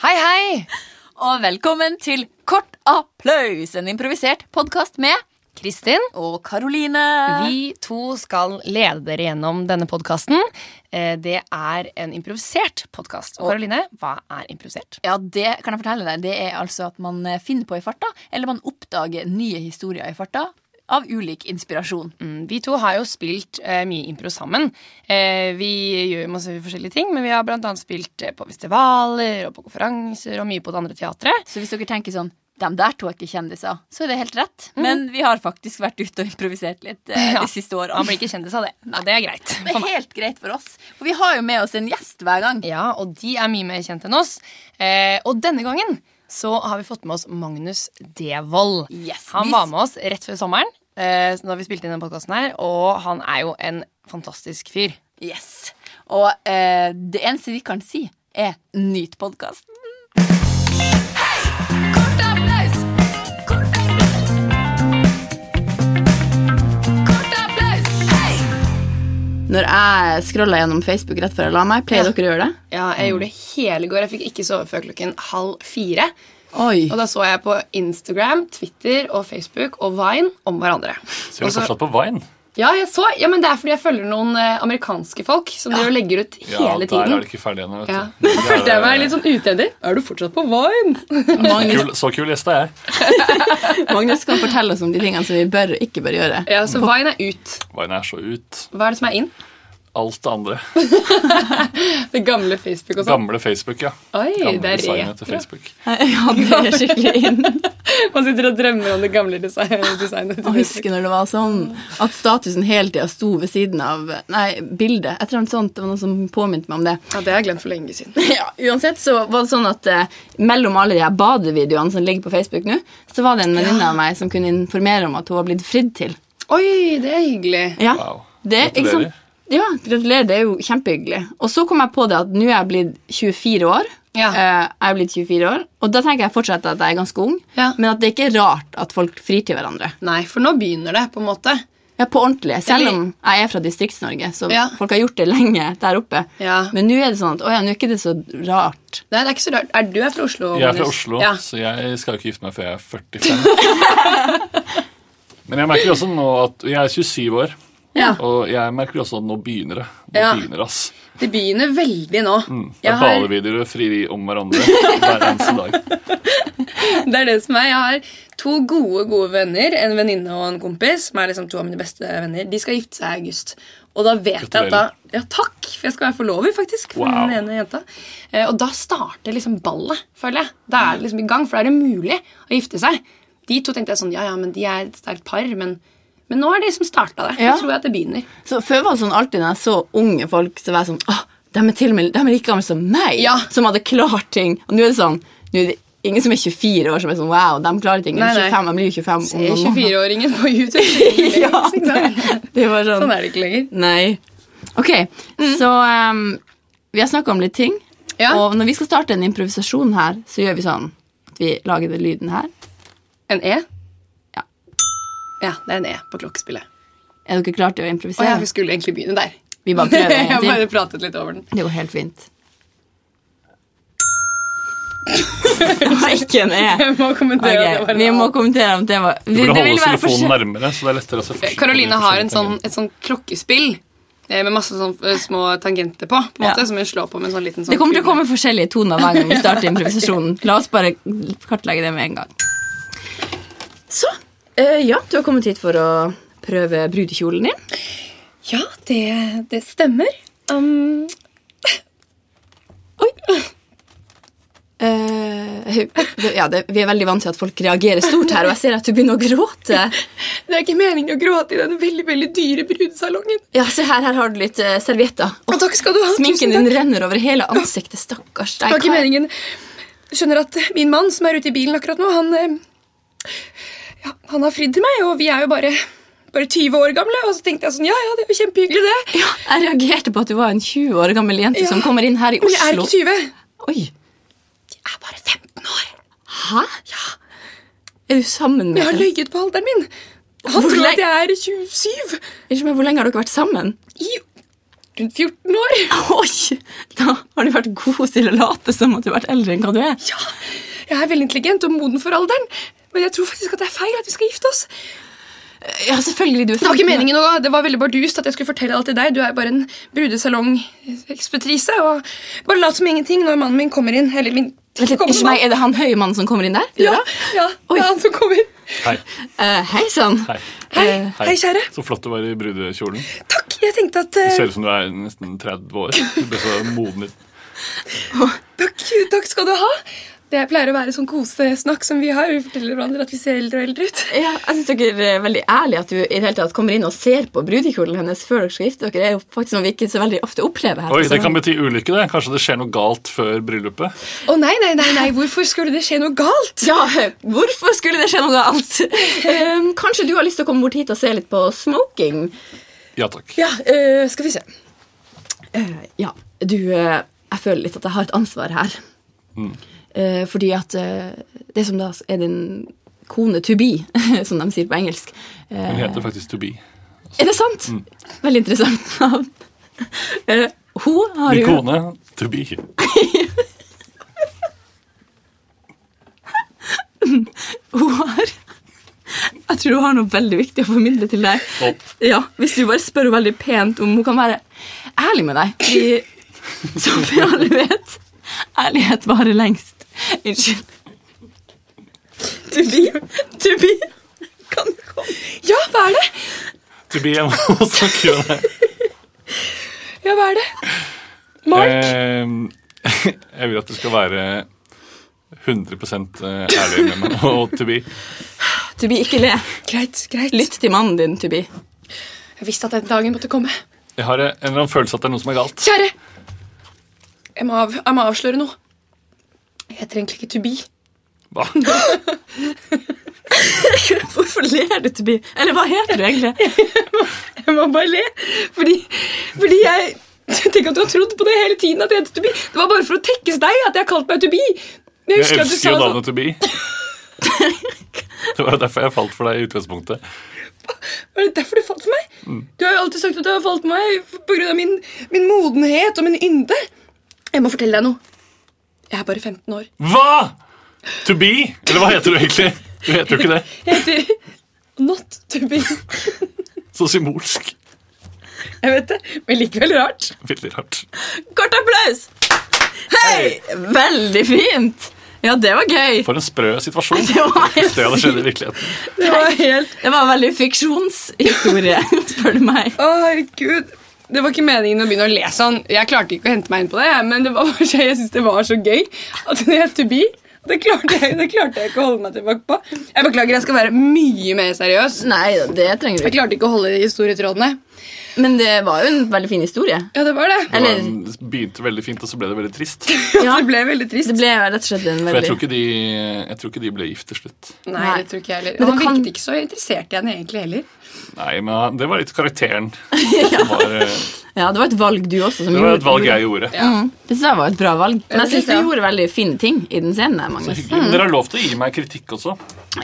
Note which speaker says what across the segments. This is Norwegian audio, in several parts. Speaker 1: Hei, hei! Og velkommen til Kort applaus, en improvisert podkast med
Speaker 2: Kristin,
Speaker 1: og Karoline.
Speaker 2: vi to skal lede dere gjennom denne podkasten. Det er en improvisert podkast. Og
Speaker 1: Og-
Speaker 2: Karoline, hva er improvisert?
Speaker 1: Ja, det kan jeg fortelle deg. Det er altså at man eh, finner på i farta, eller man oppdager nye historier i farta av ulik inspirasjon.
Speaker 2: Mm, Vi to har jo spilt eh, mye impro sammen. Eh, vi gjør jo masse forskjellige ting, men vi har blant annet spilt eh, på festivaler og på konferanser og mye på det andre teatret.
Speaker 1: Så hvis dere tenker sånn dem der to er ikke kjendiser, så er det helt rett.
Speaker 2: Mm.
Speaker 1: Men vi har faktisk vært ute og improvisert litt eh,
Speaker 2: Mhm. Ja.
Speaker 1: de siste årene.
Speaker 2: Man blir ikke kjendis av det, og det er greit.
Speaker 1: Det er helt greit for oss, for vi har jo med oss en gjest hver gang.
Speaker 2: Ja, og de er mye mer kjent enn oss. Eh, og denne gangen så har vi fått med oss Magnus Devold.
Speaker 1: Yes,
Speaker 2: han
Speaker 1: vi-
Speaker 2: var med oss rett før sommeren eh, da vi spilte inn denne podkasten her, og han er jo en fantastisk fyr.
Speaker 1: Yes. Og eh, det eneste vi kan si, er nyt podkasten. Når jeg scrolla gjennom Facebook rett før jeg la meg, pleier dere å gjøre det?
Speaker 2: Ja, jeg gjorde det hele i går. Jeg fikk ikke sove før klokken halv fire.
Speaker 1: Oi.
Speaker 2: Og da så jeg på Instagram, Twitter og Facebook og Vine om hverandre.
Speaker 3: Ser
Speaker 2: Og
Speaker 3: du
Speaker 2: så-
Speaker 3: fortsatt på Vine?
Speaker 2: ja, jeg så, ja, men det er fordi jeg følger noen eh, amerikanske folk som driver og legger ut hele
Speaker 3: der
Speaker 2: tiden.
Speaker 3: er det ikke ferdig ennå. vet du.
Speaker 2: Ja.
Speaker 3: Det er-
Speaker 2: Følte jeg meg litt sånn utedig. Er du fortsatt på Vine?
Speaker 3: eh, kul, Så kul gjest er jeg.
Speaker 1: Magnus kan fortelle oss om de tingene som vi bør og ikke bør gjøre.
Speaker 2: Ja, så Vine er ut.
Speaker 3: Vine er så ut.
Speaker 2: Hva er det som er inn?
Speaker 3: Alt det andre.
Speaker 2: Altså- Det gamle Facebook og sånn.
Speaker 3: Gamle Facebook, ja.
Speaker 2: Oi, det
Speaker 3: Gamle
Speaker 2: er
Speaker 3: designet til
Speaker 2: retro.
Speaker 3: Facebook.
Speaker 1: Ja, det er skikkelig inn.
Speaker 2: Man sitter og drømmer om det gamle design- designet. til
Speaker 1: Og
Speaker 2: Facebook.
Speaker 1: husker når det var sånn at statusen hele tida sto ved siden av Nei, bildet. Et eller annet sånt. Det var noe som påminte meg om det.
Speaker 2: Ja, det har jeg glemt for lenge siden.
Speaker 1: Ja, Uansett så var det sånn at eh, mellom alle de her badevideoene som ligger på Facebook nå, så var det en venninne av meg som kunne informere om at hun var blitt fridd til.
Speaker 2: Oi, det er hyggelig.
Speaker 1: Ja,
Speaker 3: Wow.
Speaker 1: det, ikke sant?
Speaker 3: Gratulerer.
Speaker 1: Ja, gratulerer. Det er jo kjempehyggelig. Og så kom jeg på det at nå er jeg blitt 24 år.
Speaker 2: Ja.
Speaker 1: Eh, jeg er blitt 24 år, Og da tenker jeg fortsatt at jeg er ganske ung,
Speaker 2: Ja.
Speaker 1: men at det ikke er rart at folk frir til hverandre.
Speaker 2: Nei, for nå begynner det, på en måte.
Speaker 1: Ja, på ordentlig. Selv
Speaker 2: Eller-
Speaker 1: om jeg er fra Distrikts-Norge, så
Speaker 2: Ja.
Speaker 1: folk har gjort det lenge der oppe.
Speaker 2: Ja.
Speaker 1: Men nå er det sånn at å ja, nå er ikke det så rart.
Speaker 2: Nei, det er ikke så rart. Er du er fra Oslo?
Speaker 3: Jeg er fra
Speaker 2: Magnus?
Speaker 3: Oslo,
Speaker 2: Ja.
Speaker 3: så jeg skal ikke gifte meg før jeg er 45. Men jeg merker også nå at jeg er 27 år,
Speaker 2: Ja.
Speaker 3: og jeg merker også at nå begynner det. Nå
Speaker 2: Ja.
Speaker 3: begynner det, ass.
Speaker 2: Det begynner veldig nå.
Speaker 3: Mm. Det
Speaker 2: Jeg
Speaker 3: er
Speaker 2: har-
Speaker 3: balevideoer og frieri om hverandre hver eneste dag.
Speaker 2: Det er det som er. Jeg har to gode gode venner, en venninne og en kompis, som er liksom to av mine beste venner. De skal gifte seg i august. Og da vet jeg at da
Speaker 3: Gratulerer.
Speaker 2: Ja, takk! For jeg skal være forlover, faktisk. For
Speaker 3: Wow.
Speaker 2: den ene jenta. Eh, Og da starter liksom ballet, føler jeg. Da er det liksom i gang, for da er det mulig å gifte seg. De to tenkte jeg sånn Ja, ja, men de er et sterkt par, men men nå er det de som starta det.
Speaker 1: Ja.
Speaker 2: Nå tror jeg at det begynner.
Speaker 1: Så Før var det sånn alltid når jeg så unge folk, så var jeg sånn Åh, de er til og med de er like gamle som meg,
Speaker 2: Ja.
Speaker 1: som hadde klart ting. Og nå er det sånn Nå er det ingen som er 24 år som er sånn Wow, de klarer ting.
Speaker 2: Nei,
Speaker 1: Jeg
Speaker 2: nei.
Speaker 1: er 25, jeg blir jo 25 om
Speaker 2: Se
Speaker 1: noen måneder.
Speaker 2: 24-åringen Eh, på YouTube. ikke
Speaker 1: Sånn Ja,
Speaker 2: sant?
Speaker 1: det var sånn.
Speaker 2: Sånn er det ikke lenger.
Speaker 1: Nei. Ok, så em, vi har snakka om litt ting.
Speaker 2: Ja.
Speaker 1: Og når vi skal starte en improvisasjon her, så gjør vi sånn at vi lager den lyden her.
Speaker 2: En E?
Speaker 1: Ja.
Speaker 2: Ja, det er en E på klokkespillet.
Speaker 1: Er dere klare til
Speaker 2: Å
Speaker 1: å
Speaker 2: ja,
Speaker 1: improvisere?
Speaker 2: vi skulle egentlig begynne der.
Speaker 1: Vi bare prøver en
Speaker 2: Jeg
Speaker 1: gang
Speaker 2: bare
Speaker 1: til.
Speaker 2: pratet litt over den.
Speaker 1: Det går helt fint. Det var ikke en E.
Speaker 2: Jeg må kommentere
Speaker 1: Ok,
Speaker 2: det var en
Speaker 1: vi
Speaker 2: annen.
Speaker 1: må kommentere om det var
Speaker 3: Du
Speaker 1: det-
Speaker 3: burde
Speaker 1: det
Speaker 3: holde
Speaker 1: ville være
Speaker 3: telefonen
Speaker 1: forskjell-
Speaker 3: nærmere, så det er lettere å se forskjell på
Speaker 2: Karoline
Speaker 3: de
Speaker 2: har en
Speaker 3: forskjellige
Speaker 2: sånn,
Speaker 3: tingene.
Speaker 2: et sånn klokkespill eh, med masse sånn eh, små tangenter på, på en
Speaker 1: Ja.
Speaker 2: måte, som hun slår på med en sånn liten sånn
Speaker 1: Det kommer til å
Speaker 2: kule.
Speaker 1: komme forskjellige toner hver gang vi starter improvisasjonen. La oss bare kartlegge det med en gang. Så eh, ja, du har kommet hit for å prøve brudekjolen din.
Speaker 2: Ja, det, det stemmer. Um,
Speaker 1: Eh, det- ja, det, vi er veldig vant til at folk reagerer stort her, og jeg ser at du begynner å gråte.
Speaker 2: det er ikke meningen å gråte i den veldig veldig dyre brudesalongen.
Speaker 1: Ja, se her, her har du litt eh, servietter.
Speaker 2: Og takk skal du ha.
Speaker 1: Sminken
Speaker 2: tusen takk.
Speaker 1: din renner over hele ansiktet, stakkars deg.
Speaker 2: Det var ikke
Speaker 1: Hva er-
Speaker 2: meningen. Jeg skjønner at min mann som er ute i bilen akkurat nå, han, eh, ja, han har fridd til meg, og vi er jo bare, bare 20 år gamle. Og så tenkte jeg sånn, ja, ja, det er jo kjempehyggelig det.
Speaker 1: Ja, jeg reagerte på at du var en 20 år gammel jente
Speaker 2: Ja.
Speaker 1: som kommer inn her i
Speaker 2: Men jeg er
Speaker 1: Oslo.
Speaker 2: ikke 20.
Speaker 1: Oi,
Speaker 2: Jeg er bare 15 år.
Speaker 1: Hæ? Ja. Er du sammen med
Speaker 2: Jeg har
Speaker 1: henne?
Speaker 2: løyet på alderen min. Han
Speaker 1: Hvor
Speaker 2: tror
Speaker 1: lenge-
Speaker 2: at jeg er 27.
Speaker 1: Unnskyld meg, Hvor lenge har dere vært sammen?
Speaker 2: I rundt 14 år.
Speaker 1: Oi! Da har du vært god til å late som at du har vært eldre enn hva du er.
Speaker 2: Ja, jeg er veldig intelligent og moden for alderen, men jeg tror faktisk at det er feil at vi skal gifte oss.
Speaker 1: Ja, selvfølgelig. Du er
Speaker 2: Det var
Speaker 1: 15
Speaker 2: ikke
Speaker 1: år.
Speaker 2: meningen, og det var veldig bardust at jeg skulle fortelle alt til deg. Du er bare en brudesalongekspetrise, og bare lat som ingenting når mannen min kommer inn. Eller min
Speaker 1: Vent litt,
Speaker 2: kommer
Speaker 1: unnskyld meg, Er det han høye mannen som kommer inn der?
Speaker 2: Ja, ja, det er han som kommer.
Speaker 3: Hei.
Speaker 1: Eh, Hei sann.
Speaker 3: Hei.
Speaker 2: Hei,
Speaker 1: Eh,
Speaker 2: hei, kjære.
Speaker 3: Så flott du var i brudekjolen.
Speaker 2: Takk, jeg tenkte at
Speaker 3: Du
Speaker 2: eh,
Speaker 3: ser ut som du er nesten 30 år. Du ble så moden ut.
Speaker 2: takk, takk skal du ha. Det pleier å være sånn kosesnakk som vi har. Vi forteller hverandre at vi ser eldre og eldre ut.
Speaker 1: Ja, jeg synes dere er veldig ærlige at du i det hele tatt kommer inn og ser på brudekjolen hennes før dere skal gifte dere. Det er jo faktisk noe vi ikke så veldig ofte opplever her.
Speaker 3: Oi,
Speaker 1: på
Speaker 3: det
Speaker 1: salongen.
Speaker 3: kan bety ulykke, det. Kanskje det skjer noe galt før bryllupet.
Speaker 2: Å nei, nei, nei, nei, hvorfor skulle det skje noe galt?
Speaker 1: Ja, hvorfor skulle det skje noe galt? Ehm, kanskje du har lyst til å komme bort hit og se litt på smoking?
Speaker 3: Ja takk.
Speaker 2: Ja, eh, skal vi se.
Speaker 1: Eh, ja, du eh, Jeg føler litt at jeg har et ansvar her.
Speaker 2: Mm.
Speaker 1: Eh, fordi at eh, det som da er din kone to be, som de sier på engelsk eh,
Speaker 3: Hun heter faktisk To Be.
Speaker 1: Er det sant?
Speaker 2: Mm.
Speaker 1: Veldig interessant navn. Eh, hun har
Speaker 3: Min
Speaker 1: jo
Speaker 3: kone To Be.
Speaker 1: Hun har Jeg tror hun har noe veldig viktig å formidle til deg.
Speaker 3: Å.
Speaker 1: Ja, Hvis du bare spør henne veldig pent om hun kan være ærlig med deg. Fordi, som vi alle vet, ærlighet varer lengst. Unnskyld. Tubi, Tubi, kan du komme?
Speaker 2: Ja, hva er det?
Speaker 3: To Be jeg må også kunne det.
Speaker 2: Ja, hva er det? Mark?
Speaker 3: Eh, jeg vil at du skal være 100 ærlig med meg og To Be.
Speaker 1: Tubi, ikke le.
Speaker 2: Greit, greit.
Speaker 1: Lytt til mannen din, Tubi.
Speaker 2: Jeg visste at den dagen måtte komme.
Speaker 3: Jeg har en eller annen følelse at det er noe som er galt.
Speaker 2: Kjære! Jeg må, av, jeg må avsløre noe. Jeg heter egentlig ikke To Be.
Speaker 3: Hva?
Speaker 1: Hvorfor ler du, Tubi? Eller hva heter du egentlig?
Speaker 2: Jeg må bare le, fordi, fordi jeg Tenk at du har trodd på det hele tiden. at jeg heter To Be. Det var bare for å tekkes deg at jeg har kalt meg To Be. Men
Speaker 3: Jeg
Speaker 2: husker at du
Speaker 3: elsker jo
Speaker 2: sa
Speaker 3: navnet To Be. Det var jo derfor jeg falt for deg i utgangspunktet.
Speaker 2: sånn- Var det derfor du falt for meg?
Speaker 3: Mm.
Speaker 2: Du har jo alltid sagt at du har falt for meg pga. Min, min modenhet og min ynde. Jeg må fortelle deg noe. Jeg er bare 15 år.
Speaker 3: Hva?! To Be? Eller hva heter du egentlig? Du heter jo ikke det.
Speaker 2: Jeg heter Not To Be.
Speaker 3: Så symbolsk.
Speaker 2: Jeg vet det, men likevel rart.
Speaker 3: Veldig rart.
Speaker 1: Kort applaus! Hei! Veldig fint! Ja, det var gøy.
Speaker 3: For en sprø situasjon.
Speaker 1: Det var helt
Speaker 3: Hvis det hadde skjedd i virkeligheten.
Speaker 2: Det var helt
Speaker 1: Det var en veldig fiksjonshistorie, spør du meg.
Speaker 2: Å, herregud. Det var ikke meningen å begynne å le sånn. Jeg klarte ikke å hente meg inn på det, men det var bare så, jeg syntes det var så gøy at det het to be. Det klarte, jeg, det klarte jeg ikke å holde meg tilbake på. Jeg beklager, jeg skal være mye mer seriøs.
Speaker 1: Nei, det trenger du
Speaker 2: Jeg
Speaker 1: ikke.
Speaker 2: klarte ikke å holde historietrådene.
Speaker 1: Men det var jo en veldig fin historie.
Speaker 2: Ja, det var det.
Speaker 3: Det var
Speaker 1: Eller-
Speaker 3: en- det begynte veldig fint, og så ble det veldig trist.
Speaker 1: Ja.
Speaker 2: Det ble veldig
Speaker 1: Det
Speaker 2: trist.
Speaker 1: ble rett og slett en
Speaker 3: For jeg tror
Speaker 1: veldig
Speaker 3: ikke de, jeg tror ikke de ble gift til slutt.
Speaker 2: Nei, det tror ikke jeg heller.
Speaker 1: Men
Speaker 2: Og han
Speaker 1: det kan-
Speaker 2: virket ikke så interessert i henne egentlig heller.
Speaker 3: Nei, men han- det var litt karakteren. Det var, eh,
Speaker 1: Ja, det var et valg du også som
Speaker 3: det var
Speaker 1: gjorde.
Speaker 3: et valg jeg gjorde.
Speaker 1: Mm. Det synes jeg var et bra valg. Men
Speaker 2: det
Speaker 1: jeg synes
Speaker 2: synes jeg.
Speaker 1: du gjorde veldig fine ting i den scenen. der,
Speaker 3: Så
Speaker 1: Magnus.
Speaker 3: hyggelig. Men dere har lov til å gi meg kritikk også.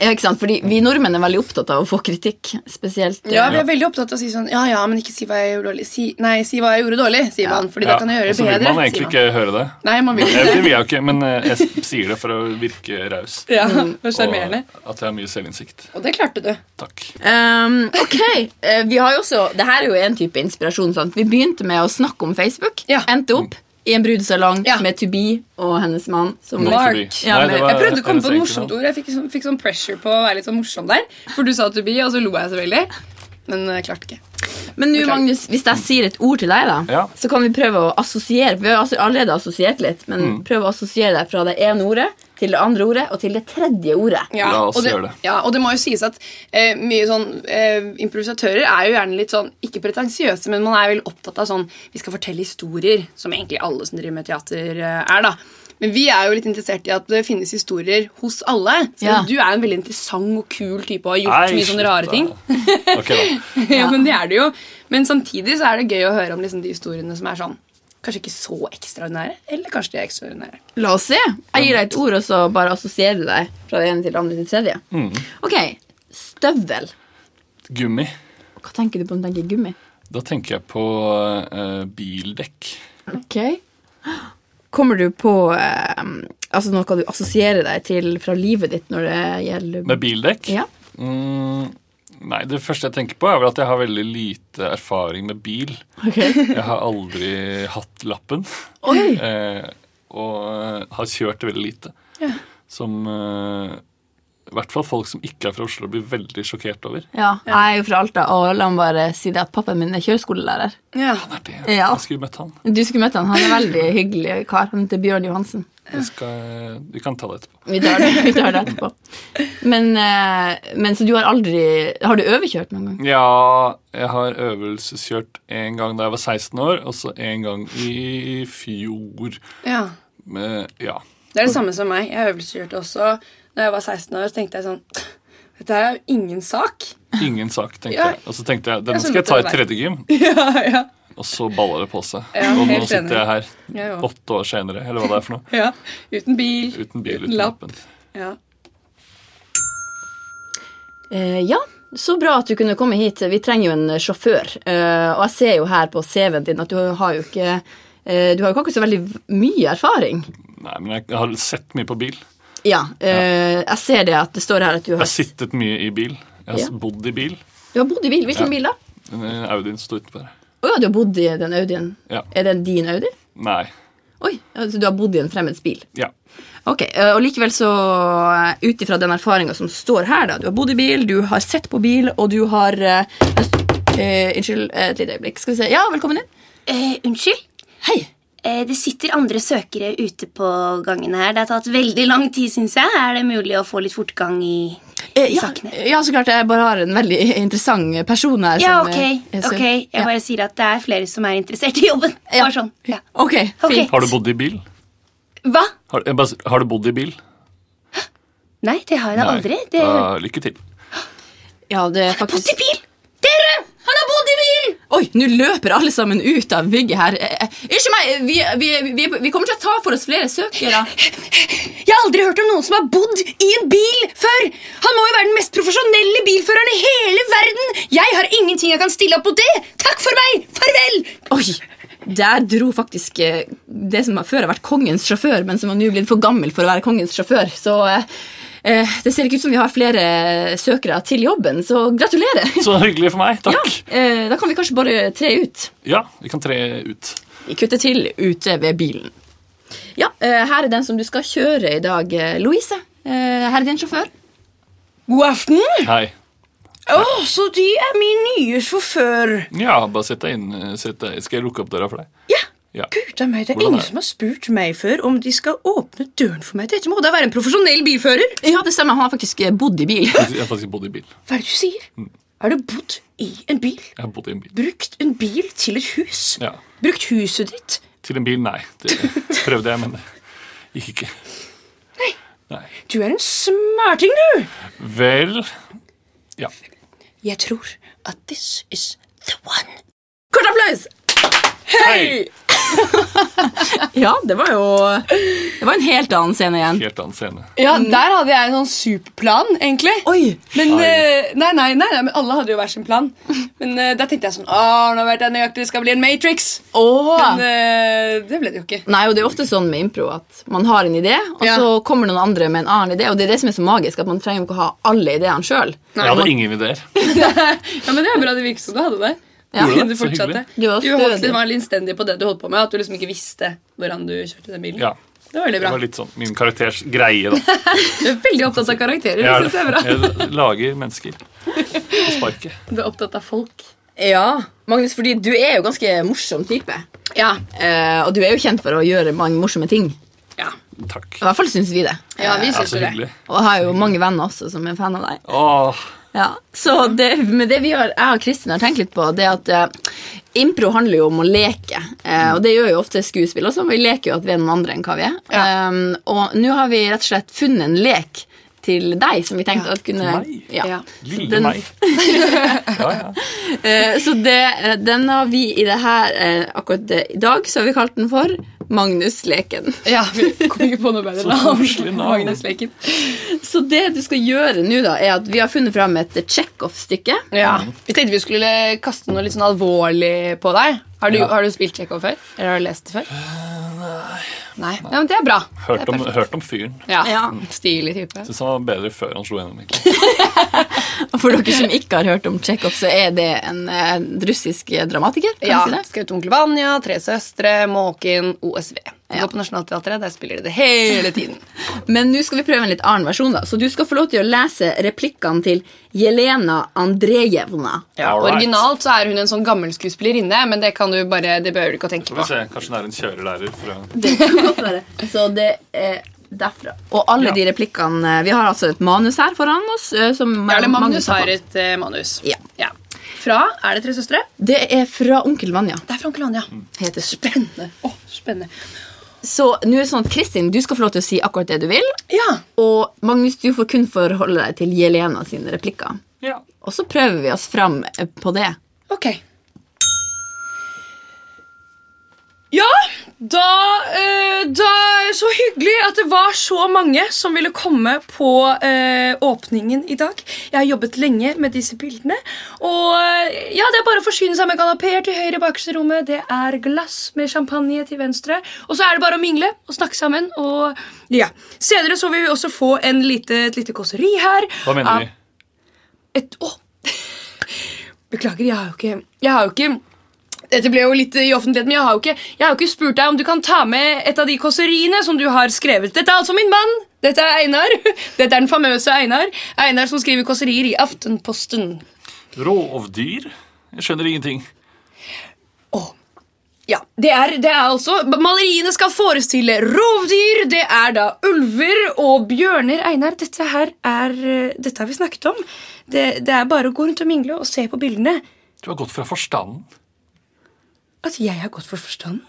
Speaker 1: Ja, ikke sant? Fordi vi nordmenn er veldig opptatt av å få kritikk. Spesielt eh,
Speaker 2: Ja, vi er veldig opptatt av å si sånn Ja, ja, men ikke si hva jeg gjorde dårlig. Si, nei, si hva jeg gjorde dårlig, sier man. Fordi da kan jeg
Speaker 3: og
Speaker 2: gjøre
Speaker 3: så
Speaker 2: det
Speaker 3: vil
Speaker 2: bedre.
Speaker 3: man
Speaker 2: sier
Speaker 3: egentlig ikke høre det.
Speaker 2: Nei, man vil
Speaker 3: Jeg,
Speaker 2: ikke
Speaker 3: det
Speaker 2: det.
Speaker 3: vil jeg jo ikke, men eh, jeg s- sier det for å virke raus.
Speaker 2: Ja, det var
Speaker 3: Og
Speaker 2: sjarmerende.
Speaker 3: at jeg har mye selvinnsikt.
Speaker 2: Mm. Og det klarte du.
Speaker 3: Takk.
Speaker 1: Ehm, ok, Eh, vi har jo også Det her er jo en type inspirasjon. Sant? Vi begynte med å snakke om Facebook.
Speaker 2: Ja.
Speaker 1: Endte opp i en brudesalong
Speaker 2: Ja.
Speaker 1: med To Be og hennes mann. Som
Speaker 3: Not
Speaker 2: Mark.
Speaker 3: to be.
Speaker 1: Ja,
Speaker 3: Nei,
Speaker 1: men-
Speaker 3: det var
Speaker 2: Jeg prøvde å komme på et
Speaker 3: hennes
Speaker 2: morsomt
Speaker 3: eget navn.
Speaker 2: ord. Jeg fikk sånn, fikk sånn pressure på å være litt sånn morsom der. For du sa to be, og så lo jeg så veldig. Men jeg klarte ikke.
Speaker 1: Men nå,
Speaker 2: Beklager.
Speaker 1: Magnus, hvis jeg sier et ord til deg, da,
Speaker 3: Ja.
Speaker 1: så kan vi prøve å assosiere. Vi har altså allerede assosiert litt, men
Speaker 3: Mm.
Speaker 1: prøve å assosiere deg fra det ene ordet til det andre ordet og til det tredje ordet.
Speaker 2: Ja,
Speaker 3: La oss
Speaker 2: og det,
Speaker 3: gjøre det.
Speaker 2: Ja, og det må jo sies at eh, mye sånn eh, improvisatører er jo gjerne litt sånn ikke pretensiøse, men man er vel opptatt av sånn Vi skal fortelle historier, som egentlig alle som driver med teater, eh, er, da. Men vi er jo litt interessert i at det finnes historier hos alle. Så
Speaker 1: Ja.
Speaker 2: du er en veldig interessant og kul type og har gjort
Speaker 3: Nei,
Speaker 2: mye sånne rare
Speaker 3: slutt,
Speaker 2: ting.
Speaker 3: da. Ok, da.
Speaker 2: ja, men det er det jo. Men samtidig så er det gøy å høre om liksom, de historiene som er sånn Kanskje ikke så ekstraordinære, eller kanskje de er ekstraordinære.
Speaker 1: La oss se. Jeg gir deg et ord, og så bare assosierer du deg fra det ene til det andre til det tredje.
Speaker 3: Mm.
Speaker 1: Ok, Støvel.
Speaker 3: Gummi.
Speaker 1: Hva tenker du på når du tenker gummi?
Speaker 3: Da tenker jeg på eh, bildekk.
Speaker 1: Ok. Kommer du på eh, altså noe du assosierer deg til fra livet ditt når det gjelder
Speaker 3: Med bildekk?
Speaker 1: Ja.
Speaker 3: Mm, nei, det første jeg tenker på, er vel at jeg har veldig lite erfaring med bil.
Speaker 1: Ok.
Speaker 3: Jeg har aldri hatt lappen.
Speaker 1: Oi!
Speaker 3: Eh, og eh, har kjørt veldig lite. Som eh, i hvert fall folk som ikke er fra Oslo, blir veldig sjokkert over.
Speaker 1: Ja, jeg er jo fra Alta, og la meg bare si det at pappaen min er kjøreskolelærer.
Speaker 2: Ja.
Speaker 3: Er det?
Speaker 1: Ja.
Speaker 3: Jeg skulle møtt han.
Speaker 1: Du skulle møtt han, han er en veldig hyggelig kar. Han heter Bjørn Johansen.
Speaker 3: Det skal, vi kan ta det etterpå.
Speaker 1: Vi tar det, vi tar det etterpå. Men, eh, men så du har aldri Har du overkjørt noen gang?
Speaker 3: Ja, jeg har øvelseskjørt én gang da jeg var 16 år, og så én gang i fjor.
Speaker 2: ja.
Speaker 3: Men, ja.
Speaker 2: Det er det samme som meg. Jeg øvelseskjørte også. Da jeg var 16 år, så tenkte jeg sånn Dette er jo ingen sak.
Speaker 3: Ingen sak, tenkte
Speaker 2: Ja.
Speaker 3: jeg. Og så tenkte jeg denne
Speaker 2: Jeg
Speaker 3: skal jeg ta
Speaker 2: skjønner
Speaker 3: i
Speaker 2: at det er
Speaker 3: tredje gym.
Speaker 2: Ja, ja.
Speaker 3: Og så balla det på seg.
Speaker 2: Ja,
Speaker 3: og nå
Speaker 2: helt enig.
Speaker 3: sitter jeg her
Speaker 2: Jeg òg.
Speaker 3: åtte år senere, eller hva det er for noe.
Speaker 2: Ja. Uten bil.
Speaker 3: Uten bil,
Speaker 2: Uten
Speaker 3: uten
Speaker 2: lapp.
Speaker 3: lappen.
Speaker 2: Ja.
Speaker 1: Eh, ja, så bra at du kunne komme hit. Vi trenger jo en sjåfør. Eh, og jeg ser jo her på CV-en din at du har jo ikke eh, Du har jo ikke akkurat så veldig mye erfaring.
Speaker 3: Nei, men jeg har sett mye på bil.
Speaker 1: Ja, eh, jeg ser det at det står her at du
Speaker 3: Jeg
Speaker 1: har,
Speaker 3: har sittet mye i bil. Jeg har
Speaker 1: Ja.
Speaker 3: bodd i bil.
Speaker 1: du har bodd i bil. Hvilken
Speaker 3: Ja.
Speaker 1: bil da?
Speaker 3: Den, eh, Audien sto utenfor.
Speaker 1: Å ja, du har bodd i den Audien.
Speaker 3: Ja.
Speaker 1: Er det din Audi?
Speaker 3: Nei.
Speaker 1: Oi, altså du har bodd i en fremmeds bil.
Speaker 3: Ja.
Speaker 1: Ok, eh, og likevel så, eh, ut ifra den erfaringa som står her, da Du har bodd i bil, du har sett på bil, og du har eh, eh, Unnskyld, eh, et lite øyeblikk. Skal vi se. Ja, velkommen inn.
Speaker 4: Eh, unnskyld?
Speaker 1: Hei.
Speaker 4: Eh, det sitter andre søkere ute på gangene her. Det har tatt veldig lang tid, syns jeg. Er det mulig å få litt fortgang i,
Speaker 1: Eh,
Speaker 4: i
Speaker 1: ja,
Speaker 4: sakene?
Speaker 1: ja, så klart. Jeg bare har en veldig interessant person her.
Speaker 4: Ja,
Speaker 1: som,
Speaker 4: ok.
Speaker 1: eh, er søk-
Speaker 4: ok. Jeg
Speaker 1: Ja.
Speaker 4: bare sier at det er flere som er interessert i jobben.
Speaker 1: Ja.
Speaker 4: Bare sånn. Ja.
Speaker 1: Ok, fint.
Speaker 3: Har du bodd i bil?
Speaker 4: Hva?
Speaker 3: Har, jeg bare, s- har du bodd i bil?
Speaker 4: Nei, det har jeg da aldri. Det...
Speaker 1: Ah.
Speaker 3: Da, lykke til.
Speaker 1: Ja, det er
Speaker 4: Post
Speaker 1: faktisk...
Speaker 4: i bil! Dere! Han har bodd i bil!
Speaker 1: Oi, nå løper alle sammen ut av bygget her. Eh, eh, Unnskyld meg, vi, vi, vi, vi kommer til å ta for oss flere søkere.
Speaker 4: Jeg har aldri hørt om noen som har bodd i en bil før! Han må jo være den mest profesjonelle bilføreren i hele verden! Jeg har ingenting jeg kan stille opp mot det! Takk for meg! Farvel!
Speaker 1: Oi, der dro faktisk eh, det som før har vært kongens sjåfør, men som har nå blitt for gammel for å være kongens sjåfør. Så eh, eh, det ser ikke ut som vi har flere eh, søkere til jobben, så gratulerer.
Speaker 3: Så hyggelig for meg. Takk.
Speaker 1: Eh, da kan vi kanskje bare tre ut.
Speaker 3: Ja, vi kan tre ut.
Speaker 1: Vi kutter til ute ved bilen. Ja, eh, her er den som du skal kjøre i dag, eh, Louise. Eh, her er din sjåfør.
Speaker 2: God aften.
Speaker 3: Hei.
Speaker 2: Å, så de er min nye sjåfør.
Speaker 3: Ja, bare sett deg inn. eh, Sett deg. Skal jeg lukke opp døra for deg?
Speaker 2: Ja.
Speaker 3: Ja.
Speaker 2: Gud a meg, det er
Speaker 3: Hvordan
Speaker 2: ingen
Speaker 3: er det?
Speaker 2: som har spurt meg før om de skal åpne døren for meg. Dette må da være en profesjonell bilfører.
Speaker 1: Ja, det stemmer. Han har faktisk eh, bodd i bil.
Speaker 3: Jeg har faktisk bodd i bil.
Speaker 2: Hva er det du sier? Har du bodd i en bil?
Speaker 3: Jeg har bodd i en bil.
Speaker 2: Brukt en bil til et hus?
Speaker 3: Ja.
Speaker 2: Brukt huset ditt?
Speaker 3: Til en bil, nei. Det prøvde jeg, men det gikk ikke. Nei.
Speaker 2: Du er en smarting, du!
Speaker 3: Vel Ja.
Speaker 2: Jeg tror at this is the one.
Speaker 1: Kort applaus!
Speaker 3: Hei!
Speaker 1: Ja, det var jo Det var en helt annen scene igjen.
Speaker 3: Helt annen scene.
Speaker 2: Ja, der hadde jeg en sånn superplan, egentlig.
Speaker 1: Oi!
Speaker 2: Men,
Speaker 3: Oi.
Speaker 2: eh, nei, nei, nei, nei, men alle hadde jo hver sin plan. Men eh, da tenkte jeg sånn Å, nå vet jeg nøyaktig det skal bli en Matrix.
Speaker 1: Åh.
Speaker 2: Men eh, det ble det jo ikke.
Speaker 1: Nei, og det er ofte sånn med impro at man har en idé, og
Speaker 2: Ja.
Speaker 1: så kommer noen andre med en annen idé, og det er det som er så magisk, at man trenger jo ikke å ha alle ideene sjøl.
Speaker 3: Jeg hadde ingen ideer.
Speaker 2: Ja, men Det er bra det virket som du hadde det.
Speaker 1: Ja.
Speaker 2: Fordi
Speaker 3: Gjorde
Speaker 2: du
Speaker 3: det? Så
Speaker 2: fortsatte.
Speaker 1: hyggelig. Du var
Speaker 2: Du holdt,
Speaker 1: stødig.
Speaker 2: det var litt innstendig på det du holdt på med, at du liksom ikke visste hvordan du kjørte den bilen.
Speaker 3: Ja.
Speaker 2: Det var veldig
Speaker 3: Det
Speaker 2: bra.
Speaker 3: var litt sånn min karakters greie, da.
Speaker 2: Du er veldig opptatt av karakterer. det
Speaker 3: Jeg,
Speaker 2: synes jeg er
Speaker 3: er,
Speaker 2: bra.
Speaker 3: jeg lager mennesker på sparket.
Speaker 2: Du er opptatt av folk.
Speaker 1: Ja, Magnus, fordi du er jo ganske morsom type.
Speaker 2: Ja.
Speaker 1: Eh, og du er jo kjent for å gjøre mange morsomme ting.
Speaker 2: Ja,
Speaker 3: Takk.
Speaker 1: I hvert fall syns vi det.
Speaker 2: ja vi
Speaker 3: Ja,
Speaker 2: syns
Speaker 3: så
Speaker 2: jo det.
Speaker 3: hyggelig.
Speaker 1: Og jeg har jo mange venner også som er fan av deg.
Speaker 3: Åh,
Speaker 1: Ja, så det, men det vi har, jeg og Kristin har tenkt litt på, det er at eh, impro handler jo om å leke. Eh, og det gjør jo ofte skuespill også, men vi leker jo at vi er noen andre enn hva vi er. Um, og nå har vi rett og slett funnet en lek til deg som vi tenkte at kunne
Speaker 3: meg?
Speaker 2: Ja.
Speaker 3: lille
Speaker 1: Den-
Speaker 3: meg. Ja, ja.
Speaker 1: Eh, så det, eh, den har vi i det her eh, akkurat eh, i dag, så har vi kalt den for Magnus-leken.
Speaker 5: Ja, vi kom ikke på noe bedre
Speaker 3: Så
Speaker 5: navn.
Speaker 3: koselig navn.
Speaker 5: Magnus-leken.
Speaker 1: Så det du skal gjøre nå, da, er at vi har funnet fram et check-off-stykke.
Speaker 5: Ja. Vi tenkte vi skulle kaste noe litt sånn alvorlig på deg. Har du,
Speaker 3: Ja.
Speaker 5: har du spilt Tsjekhov før? Eller har du lest det før? Nei. Nei, men Det er bra.
Speaker 3: Hørt
Speaker 5: det er
Speaker 3: om,
Speaker 5: perfekt.
Speaker 3: hørt om fyren.
Speaker 5: Ja.
Speaker 1: Ja.
Speaker 5: Stilig type.
Speaker 3: Syns han var bedre før han slo gjennom. egentlig.
Speaker 1: Og For dere som ikke har hørt om Tsjekhov, så er det en, eh, russisk dramatiker. Kan
Speaker 5: Ja,
Speaker 1: vi si det?
Speaker 5: Skrevet om onkel Vanja, Tre søstre, Måken, OSV. Du går på Nationaltheatret, der spiller de det hele tiden.
Speaker 1: Men nå skal vi prøve en litt annen versjon, da. Så du skal få lov til å lese replikkene til Jelena Andrejevna.
Speaker 5: Ja,
Speaker 3: All right.
Speaker 5: Originalt så er hun en sånn gammel skuespillerinne, men det kan du bare, det behøver du ikke å tenke
Speaker 3: Skal vi
Speaker 5: på.
Speaker 3: se, Kanskje han er en kjørelærer fra
Speaker 1: Det kan godt være. Så det er derfra. Og alle de replikkene Vi har altså et manus her foran oss. eh, Som
Speaker 5: Ja, eller Magnus
Speaker 1: har
Speaker 5: har
Speaker 1: fått.
Speaker 5: et eh, manus.
Speaker 1: Ja.
Speaker 5: Fra Er det Tre søstre?
Speaker 1: Det er fra Onkel Vanja.
Speaker 5: Det er fra onkel Anja.
Speaker 1: Heter det.
Speaker 5: Spennende. Å, spennende.
Speaker 1: Så nå er det sånn at Kristin, du skal få lov til å si akkurat det du vil.
Speaker 5: Ja.
Speaker 1: Og Magnus, du får kun forholde deg til Jelena sine replikker.
Speaker 3: Ja.
Speaker 1: Og så prøver vi oss fram eh, på det.
Speaker 5: Ok. Ja, da, eh, da Så hyggelig at det var så mange som ville komme på eh, åpningen i dag. Jeg har jobbet lenge med disse bildene. Og eh, ja, det er bare å forsyne seg med kanapeer til høyre i bakerste rommet. Det er glass med champagne til venstre. Og så er det bare å mingle og snakke sammen. Og ja, Senere så vil vi også få en lite, et lite kåseri her.
Speaker 3: Hva mener
Speaker 5: av-
Speaker 3: de?
Speaker 5: et Å! Beklager, jeg har jo ikke Jeg har jo ikke dette ble jo litt i offentligheten, men jeg har, jo ikke, jeg har jo ikke spurt deg om du kan ta med et av de kåseriene som du har skrevet. Dette er altså min mann! Dette er Einar. Dette er den famøse Einar. Einar som skriver kåserier i Aftenposten.
Speaker 3: Rovdyr? Jeg skjønner ingenting.
Speaker 5: Ja, det er, det er altså Maleriene skal forestille rovdyr. Det er da ulver og bjørner. Einar, dette her er eh, Dette har vi snakket om. Det, det er bare å gå rundt og mingle og se på bildene.
Speaker 3: Du har gått fra forstanden.
Speaker 5: At Altså, jeg har gått for forstanden?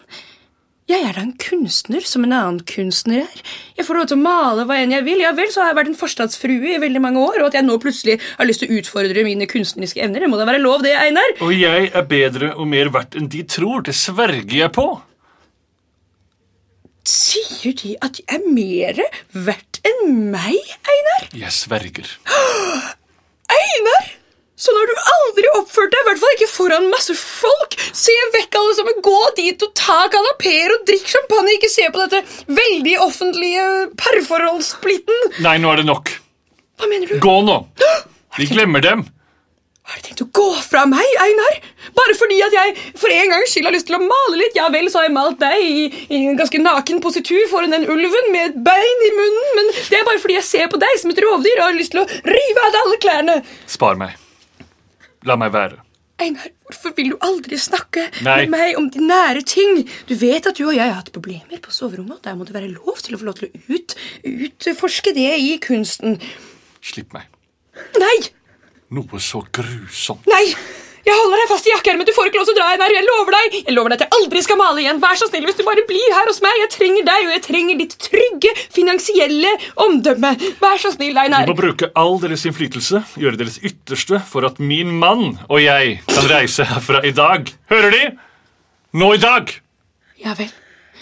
Speaker 5: Jeg er da en kunstner som en annen kunstner er. Jeg får lov til å male hva enn jeg vil. Ja vel, så har jeg vært en forstadsfrue i veldig mange år, og at jeg nå plutselig har lyst til å utfordre mine kunstneriske evner, det må da være lov, det, Einar?
Speaker 3: Og jeg er bedre og mer verdt enn de tror. Det sverger jeg på.
Speaker 5: Sier de at jeg er mere verdt enn meg, Einar?
Speaker 3: Jeg sverger.
Speaker 5: Einar! Så når du aldri oppførte deg, i hvert fall ikke foran masse folk, se vekk alle sammen, gå dit og ta kanapeer og drikk champagne, ikke se på dette veldig offentlige parforholdssplitten.
Speaker 3: Nei, nå er det nok.
Speaker 5: Hva mener du?
Speaker 3: Gå nå! Vi glemmer dem.
Speaker 5: Har du tenkt å gå fra meg, Einar? Bare fordi at jeg for en gangs skyld har lyst til å male litt? Ja vel, så har jeg malt deg i, i en ganske naken positur foran den ulven med et bein i munnen, men det er bare fordi jeg ser på deg som et rovdyr og har lyst til å rive av deg alle klærne.
Speaker 3: Spar meg. La meg være.
Speaker 5: Einar, hvorfor vil du aldri snakke
Speaker 3: Nei.
Speaker 5: med meg om de nære ting? Du vet at du og jeg har hatt problemer på soverommet, og der må det være lov til å få lov til å ut, utforske det i kunsten.
Speaker 3: Slipp meg.
Speaker 5: Nei!
Speaker 3: Noe så grusomt.
Speaker 5: Nei! Jeg holder deg fast i jakkeermet. Du får ikke lov til å dra igjen her. Jeg lover deg Jeg lover deg at jeg aldri skal male igjen. Vær så snill hvis du bare blir her hos meg. Jeg trenger deg, og jeg trenger ditt trygge, finansielle omdømme. Vær så snill,
Speaker 3: Vi
Speaker 5: Einar.
Speaker 3: må bruke all deres innflytelse, gjøre deres ytterste for at min mann og jeg kan reise herfra i dag. Hører De? Nå i dag!
Speaker 5: Ja vel.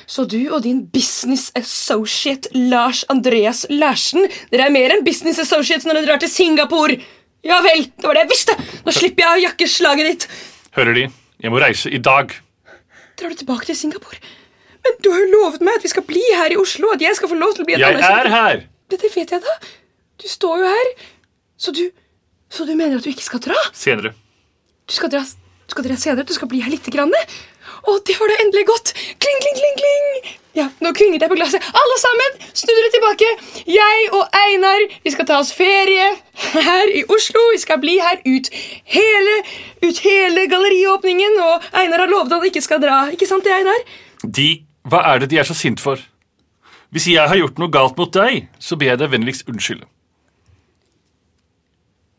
Speaker 5: Så du og din business associate Lars Andreas Larsen Dere er mer enn business associates når dere drar til Singapore. Ja vel. Det var det jeg visste. Nå slipper jeg å jakke slaget ditt.
Speaker 3: Hører De? Jeg må reise i dag.
Speaker 5: Drar du tilbake til Singapore? Men du har jo lovet meg at vi skal bli her i Oslo. At jeg skal få lov til å bli et
Speaker 3: Jeg
Speaker 5: anerkjent-
Speaker 3: er her!
Speaker 5: Dette vet jeg da. Du står jo her. Så du, så du mener at du ikke skal dra?
Speaker 3: Senere.
Speaker 5: Du skal dra, du skal dra senere. Du skal bli her lite grann. Å, det var da endelig godt. Kling, kling, kling, kling. Ja, nå klinger det på glasset. Alle sammen, snu dere tilbake. Jeg og Einar, vi skal ta oss ferie her i Oslo. Vi skal bli her ut hele, ut hele galleriåpningen. Og Einar har lovet at han ikke skal dra. Ikke sant det, Einar?
Speaker 3: De, hva er det de er så sint for? Hvis jeg har gjort noe galt mot deg, så ber jeg deg vennligst unnskylde.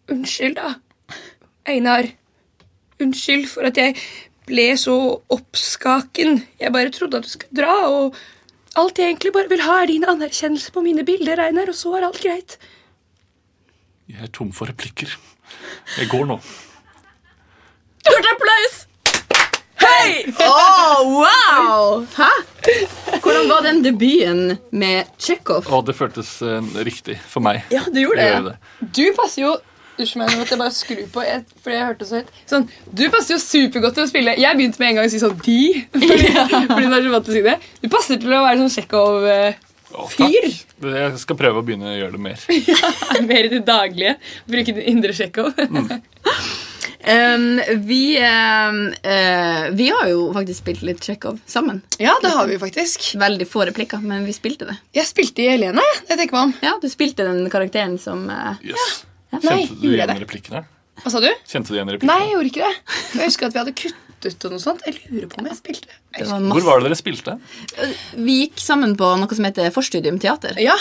Speaker 5: Unnskyld, da. Einar. Unnskyld for at jeg ble så oppskaken. Jeg bare trodde at du skulle dra, og alt jeg egentlig bare vil ha, er din anerkjennelse på mine bilder, Einar, og så er alt greit.
Speaker 3: Jeg er tom for replikker. Jeg går nå.
Speaker 5: Stort applaus! Hei!
Speaker 1: Oi! Åh, wow! Hæ? Hvordan var den debuten med Tsjekhov?
Speaker 3: Og det føltes eh, riktig for meg.
Speaker 1: Ja, du gjorde
Speaker 3: Å gjøre
Speaker 1: det.
Speaker 3: det.
Speaker 2: Du passer jo Unnskyld meg, nå måtte jeg bare skru på et, fordi jeg hørte det så høyt. Sånn, du passer jo supergodt til å spille. Jeg begynte med en gang å si sånn de. Fordi, fordi du er så vant til å si det. Du passer til å være sånn Tsjekhov eh,
Speaker 3: Å,
Speaker 2: Fyr!
Speaker 3: takk. Jeg skal prøve å begynne å gjøre det mer.
Speaker 2: mer i det daglige. Bruke den indre Tsjekhov.
Speaker 1: Um, vi, um, eh, vi har jo faktisk spilt litt Tsjekhov sammen.
Speaker 2: Ja, det har vi faktisk.
Speaker 1: Veldig få replikker, men vi spilte det.
Speaker 2: Jeg spilte i Helena, jeg. Det tenker man.
Speaker 1: Ja, Du spilte den karakteren som eh,
Speaker 3: Yes.
Speaker 2: Nei,
Speaker 3: Kjente du
Speaker 2: gjorde jeg
Speaker 3: igjen
Speaker 2: det?
Speaker 3: replikkene?
Speaker 2: Hva sa du?
Speaker 3: Kjente du igjen
Speaker 2: Nei,
Speaker 3: replikkene?
Speaker 2: jeg gjorde ikke det. Jeg husker at vi hadde kuttet og noe sånt. Jeg lurer på om jeg spilte. Jeg
Speaker 1: det
Speaker 2: husker-
Speaker 1: var
Speaker 3: Hvor
Speaker 1: masse.
Speaker 3: var det dere spilte?
Speaker 1: Vi gikk sammen på noe som heter Forstudium teater.
Speaker 2: Ja,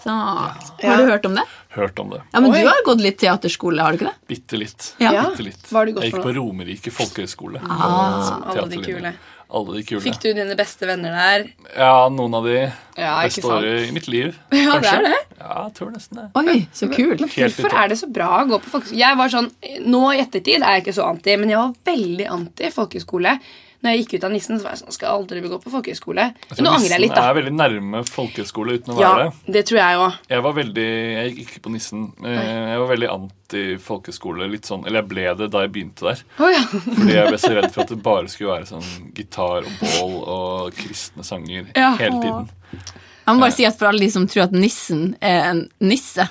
Speaker 1: Så,
Speaker 2: Ja.
Speaker 1: har du hørt om det?
Speaker 3: Hørt om det.
Speaker 1: Ja, men
Speaker 2: Oi.
Speaker 1: Du har gått litt teaterskole, har du ikke det?
Speaker 3: Bitte litt.
Speaker 1: Ja.
Speaker 2: Ja.
Speaker 3: Bitte litt.
Speaker 2: Hva har du gått
Speaker 3: jeg gikk
Speaker 2: for
Speaker 3: på Romerike folkehøgskole.
Speaker 1: Ah.
Speaker 2: Alle de
Speaker 3: Teaterlinjen.
Speaker 2: kule.
Speaker 3: Alle de kule.
Speaker 2: Fikk du dine beste venner der?
Speaker 3: Ja, noen av de
Speaker 2: Ja, ikke
Speaker 3: beste
Speaker 2: sant.
Speaker 3: året i mitt liv.
Speaker 2: Ja, det er det.
Speaker 3: Ja, jeg tror nesten det.
Speaker 1: Oi, så kult.
Speaker 3: Helt i
Speaker 2: Hvorfor
Speaker 3: topp.
Speaker 2: er det så bra å gå på folkehøyskole? Jeg var sånn, Nå i ettertid er jeg ikke så anti, men jeg var veldig anti folkehøyskole. Når jeg gikk ut av nissen, så var jeg sånn, skal jeg aldri gå på folkehøyskole. Men nå angrer jeg litt,
Speaker 3: Nissen
Speaker 2: da.
Speaker 3: er veldig nærme folkehøyskole uten å
Speaker 2: Ja,
Speaker 3: være det.
Speaker 2: Det tror jeg òg.
Speaker 3: Jeg var veldig, jeg gikk ikke på nissen. Eh, Jeg var veldig anti folkehøyskole. litt sånn, Eller jeg ble det da jeg begynte der.
Speaker 2: Oh, ja.
Speaker 3: Fordi jeg ble så redd for at det bare skulle være sånn gitar og bål og kristne sanger
Speaker 2: Ja.
Speaker 3: hele tiden.
Speaker 1: Jeg må bare si at For alle de som tror at nissen er en nisse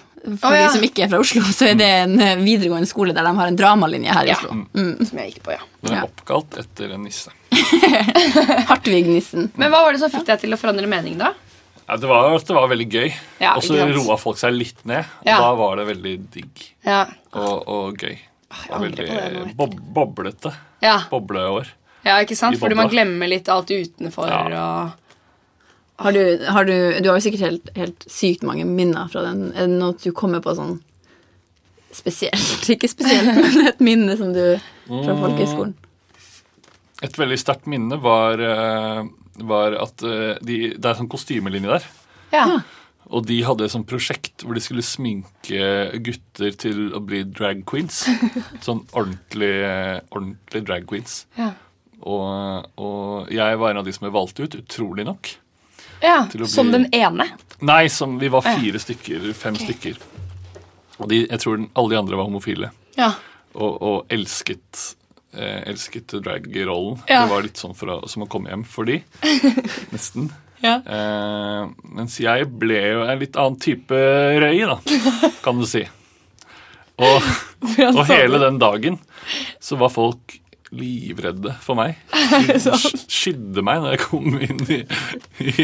Speaker 2: Å,
Speaker 1: For
Speaker 2: ja.
Speaker 1: de som ikke er fra Oslo, så er det en eh, videregående skole der de har en dramalinje her i
Speaker 2: Ja.
Speaker 1: Oslo.
Speaker 2: Som jeg gikk på, ja.
Speaker 3: Den er
Speaker 1: Ja.
Speaker 3: oppkalt etter en nisse.
Speaker 1: Hartvig Nissen.
Speaker 2: Men hva var det som fikk deg til å forandre mening, da?
Speaker 3: Ja, det, var, det var veldig gøy.
Speaker 2: Ja,
Speaker 3: og så
Speaker 2: ikke sant.
Speaker 3: roa folk seg litt ned. Og
Speaker 2: Ja.
Speaker 3: da var det veldig digg
Speaker 2: Ja,
Speaker 3: og, og gøy.
Speaker 2: Ah, jeg
Speaker 3: Og
Speaker 2: angrer på det
Speaker 3: veldig
Speaker 2: nå, vet
Speaker 3: bob boblete.
Speaker 2: ja.
Speaker 3: Bobleår.
Speaker 2: ja ikke sant?
Speaker 3: I
Speaker 2: Fordi man
Speaker 3: bobla.
Speaker 2: glemmer litt alt utenfor og
Speaker 1: Har du, har du, du har jo sikkert helt, helt sykt mange minner fra den. Er det noe du kommer på sånn spesielt? Ikke spesielt, men et minne som du fra folkehøyskolen.
Speaker 3: Et veldig sterkt minne var, eh, var at eh, de, det er sånn kostymelinje der.
Speaker 2: Ja.
Speaker 3: Og de hadde et sånt prosjekt hvor de skulle sminke gutter til å bli drag queens. Sånn ordentlig, eh, ordentlig drag queens.
Speaker 2: ja.
Speaker 3: Og, og jeg var en av de som ble valgt ut, utrolig nok.
Speaker 2: ja.
Speaker 3: Til å bli-
Speaker 2: Som den ene.
Speaker 3: Nei, som, vi var
Speaker 2: Ah.
Speaker 3: fire stykker, fem stykker. Og de, jeg tror den, alle de andre var homofile.
Speaker 2: Ja.
Speaker 3: Og, og elsket, eh, elsket drag-rollen.
Speaker 2: Ja.
Speaker 3: Det var litt sånn for å, som å komme hjem for de. Nesten.
Speaker 2: Ja.
Speaker 3: Eh, mens jeg ble jo en litt annen type røy, da, kan du si. Og, og hele den dagen så var folk livredde for meg. De sk- skydde meg når jeg kom inn i,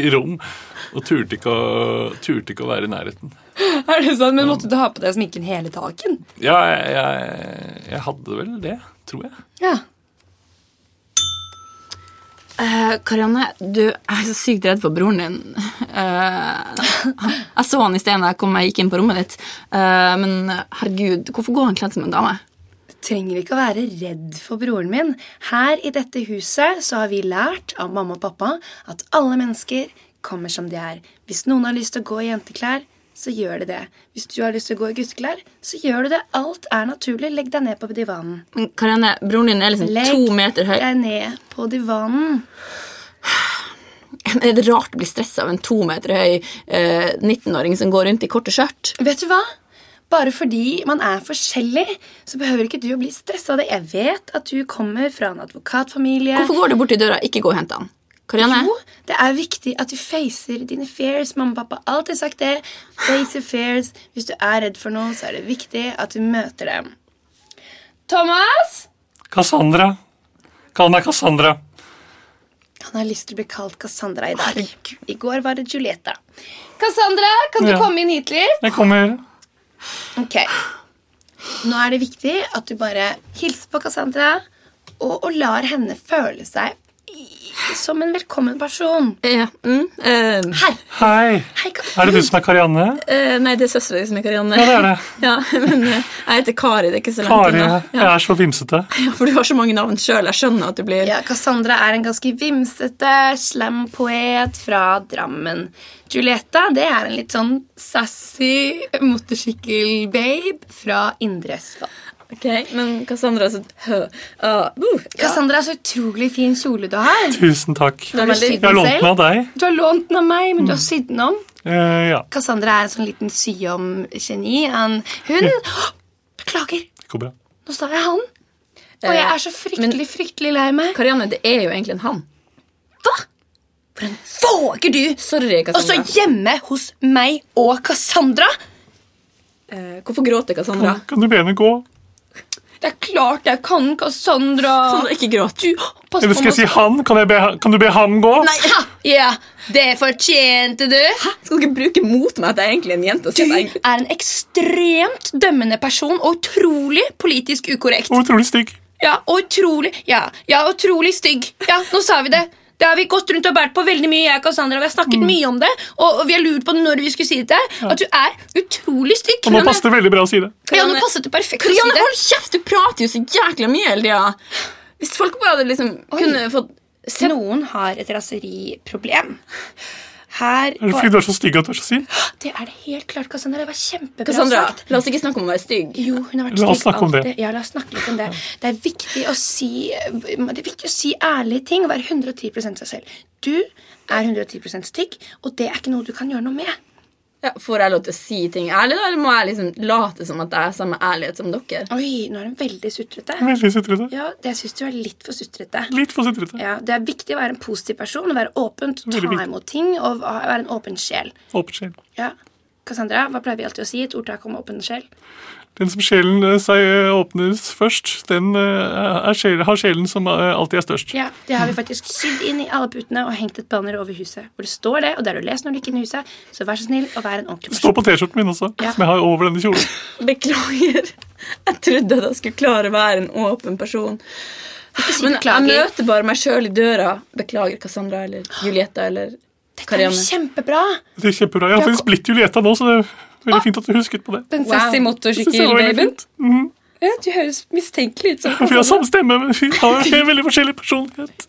Speaker 3: i rom, og turte ikke, å, turte ikke å være i nærheten.
Speaker 2: Er det sant? Men måtte du ha på deg sminken hele dagen?
Speaker 3: Ja, jeg, jeg, jeg hadde vel det, tror jeg.
Speaker 2: Ja.
Speaker 1: Eh, Karianne, du jeg er så sykt redd for broren din. Eh, jeg så han i sted da jeg kom jeg gikk inn på rommet ditt. Eh, men herregud, hvorfor går han kledd som en dame?
Speaker 2: trenger ikke å være redd for broren min. Her i dette huset så har vi lært av mamma og pappa at alle mennesker kommer som de er. Hvis noen har lyst til å gå i jenteklær, så gjør de det. Hvis du har lyst til å gå i gutteklær, så gjør du det. Alt er naturlig. Legg deg ned på divanen.
Speaker 1: Men Karianne, broren din er liksom
Speaker 2: Legg
Speaker 1: to meter høy.
Speaker 2: Deg ned på divanen.
Speaker 1: Er det rart å bli stressa av en to meter høy eh, 19-åring som går rundt i korte skjørt?
Speaker 2: Vet du hva? Bare fordi man er forskjellig, så behøver ikke du å bli stressa av det. Jeg vet at du kommer fra en advokatfamilie.
Speaker 1: Hvorfor går du bort til døra og ikke går og henter han? Karianne?
Speaker 2: Jo, det er viktig at du facer dine fears. Mamma og pappa har alltid sagt det. Face your fears. Hvis du er redd for noe, så er det viktig at du møter dem. Thomas!
Speaker 3: Cassandra. Kall meg Cassandra.
Speaker 2: Han har lyst til å bli kalt Cassandra i dag. I går var det Julieta. Cassandra, kan du
Speaker 3: Ja.
Speaker 2: komme inn hit litt?
Speaker 3: Jeg kommer.
Speaker 2: Ok. Nå er det viktig at du bare hilser på Cassandra og, og lar henne føle seg i- som en velkommen person.
Speaker 1: Ja, mm, eh,
Speaker 2: Hei,
Speaker 3: Hei.
Speaker 2: hei, Ka-
Speaker 3: Er det du som er Karianne?
Speaker 1: eh, nei, det er søstera di som er Karianne.
Speaker 3: Ja, det er det.
Speaker 1: Ja, men eh, jeg heter Kari. det er ikke så langt
Speaker 3: Kari,
Speaker 1: unna.
Speaker 3: jeg er så vimsete.
Speaker 1: Ja, for du har så mange navn sjøl. Jeg skjønner at du blir
Speaker 2: Ja, Cassandra er en ganske vimsete, slem poet fra Drammen. Julieta det er en litt sånn sassy motorsykkelbabe fra Indre Østfold.
Speaker 5: Ok, Men Cassandra er så hø, ah, uh, ja.
Speaker 2: Cassandra, så utrolig fin kjole du har.
Speaker 3: Tusen takk.
Speaker 2: Du har, sydd
Speaker 3: Jeg har
Speaker 2: den
Speaker 3: lånt den
Speaker 2: selv.
Speaker 3: av deg.
Speaker 2: Du har lånt den av meg, men du har sydd den om.
Speaker 3: Eh, ja,
Speaker 2: Cassandra er en sånn liten syom-geni. Han- Hun Beklager,
Speaker 3: det går bra.
Speaker 2: nå sa jeg han. Og jeg er så fryktelig, fryktelig lei meg.
Speaker 1: Karianne, det er jo egentlig en han.
Speaker 2: Våger du
Speaker 5: Sorry,
Speaker 2: å stå
Speaker 5: Cassandra.
Speaker 2: hjemme hos meg og Cassandra?
Speaker 1: Eh, hvorfor gråter Cassandra?
Speaker 3: Kan du be henne gå?
Speaker 2: Det er klart jeg kan, Cassandra. Sånn-
Speaker 1: Cassandra, Sånn, ikke gråt.
Speaker 2: Du, pass
Speaker 3: Eller
Speaker 2: på
Speaker 3: skal jeg si han? Kan, jeg be, han- kan du be han gå?
Speaker 2: Nei, ha, ja, det fortjente du.
Speaker 1: Skal dere bruke mot meg at jeg er egentlig er en jente? Og si
Speaker 2: Du
Speaker 1: at jeg...
Speaker 2: er en ekstremt dømmende person og utrolig politisk ukorrekt.
Speaker 3: Og utrolig stygg.
Speaker 2: Ja, og utrolig Ja, ja utrolig stygg. Ja, nå sa vi det. Det har vi gått rundt og båret på veldig mye. jeg og Cassandra, Vi har snakket mye om det, og og vi har lurt på når vi skulle si det til deg. At du er utrolig stygg.
Speaker 3: Og nå passer det veldig bra å si det.
Speaker 2: Ja, nå passet det perfekt å si
Speaker 1: Karianne,
Speaker 2: det.
Speaker 1: hold kjeft! Du prater jo så jækla mye hele tida. Hvis folk bare hadde liksom kunne fått se
Speaker 2: Noen har et raseriproblem. Her
Speaker 3: Er det fordi du er så stygg at du er så sint?
Speaker 2: Det er det helt klart, Cassandra. Det var kjempebra
Speaker 1: Cassandra,
Speaker 2: sagt.
Speaker 1: la oss ikke snakke om å være stygg.
Speaker 2: Jo, hun har vært
Speaker 3: La
Speaker 2: stygg
Speaker 3: oss snakke om det.
Speaker 2: alltid. Ja, la oss snakke litt om det. Det er viktig å si, det er viktig å si ærlige ting og være 110 seg selv. Du er 110 stygg, og det er ikke noe du kan gjøre noe med.
Speaker 1: Ja, får jeg lov til å si ting ærlig, da, eller må jeg liksom late som at jeg har samme ærlighet som dere?
Speaker 2: Oi, nå er hun veldig sutrete.
Speaker 3: Veldig sutrete.
Speaker 2: Ja, det syns du er litt for sutrete.
Speaker 3: Litt for sutrete.
Speaker 2: Ja, Det er viktig å være en positiv person, å være åpent,
Speaker 3: Veldig
Speaker 2: ta
Speaker 3: viktig.
Speaker 2: imot ting og va- være en åpen sjel.
Speaker 3: Åpen sjel.
Speaker 2: Ja, Cassandra, hva pleier vi alltid å si? Et ordtak om åpen sjel?
Speaker 3: Den som sjelen eh, seg eh, åpnes først, den eh, er sjel, har sjelen som eh, alltid er størst.
Speaker 2: Ja, Det har vi faktisk sydd inn i alle putene og hengt et banner over huset. Hvor det står det, og der du leser når du gikk inn i huset. Så vær så snill og vær en ordentlig
Speaker 3: Stå
Speaker 2: person.
Speaker 3: på T-skjorten min også,
Speaker 2: Ja.
Speaker 3: som jeg har over denne kjolen.
Speaker 1: Beklager. Jeg trodde at jeg skulle klare å være en åpen person.
Speaker 2: Ikke si
Speaker 1: Men jeg
Speaker 2: beklager.
Speaker 1: møter bare meg sjøl i døra. Beklager, Cassandra eller Julieta eller
Speaker 2: Det er jo
Speaker 1: Karianne.
Speaker 2: kjempebra!
Speaker 3: Det er kjempebra. Jeg har faktisk blitt Julieta nå, så det er veldig
Speaker 2: Ah.
Speaker 3: fint at du husket på det.
Speaker 5: Den sassy
Speaker 3: Jeg synes det var veldig
Speaker 5: motorsykkelbabyen.
Speaker 3: fint. Mhm.
Speaker 5: Ja, du høres mistenkelig ut. som
Speaker 3: Vi har
Speaker 5: Cassandra.
Speaker 3: samme stemme, men vi har en veldig forskjellig personlighet.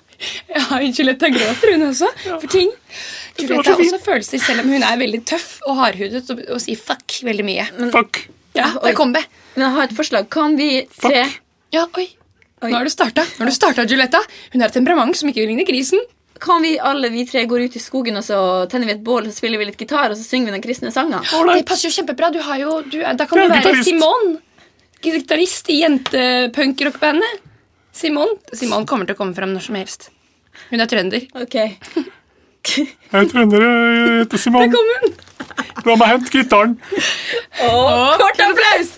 Speaker 5: Ja, Unnskyld, jeg gråter hun også. For ting.
Speaker 3: Det var så
Speaker 5: Juliette har også
Speaker 3: fint.
Speaker 5: følelser, selv om hun er veldig tøff og hardhudet og, og sier fuck veldig mye.
Speaker 3: Fuck.
Speaker 5: Ja, der kom det.
Speaker 1: Men jeg har et forslag. Kan vi tre
Speaker 5: Ja, oi. Nå har du starta, Nå har du starta, Julietta. Hun har et temperament som ikke ligner grisen.
Speaker 1: Kan vi alle vi tre går ut i skogen og så tenner vi et bål og så spiller vi litt gitar og så synger vi den kristne sangen?
Speaker 3: Ålreit.
Speaker 5: Det passer jo kjempebra. Du har jo, du, er- da kan
Speaker 3: Jeg
Speaker 5: du
Speaker 3: er
Speaker 5: være
Speaker 3: gitarist.
Speaker 5: Simon. Gitarist i jentepunkrockbandet. Simon. Simon kommer til å komme fram når som helst. Hun er trønder.
Speaker 1: Ok.
Speaker 3: Jeg er trønder, jeg heter Simon.
Speaker 5: Kom hun!
Speaker 3: La meg hente gitaren.
Speaker 1: Kort applaus!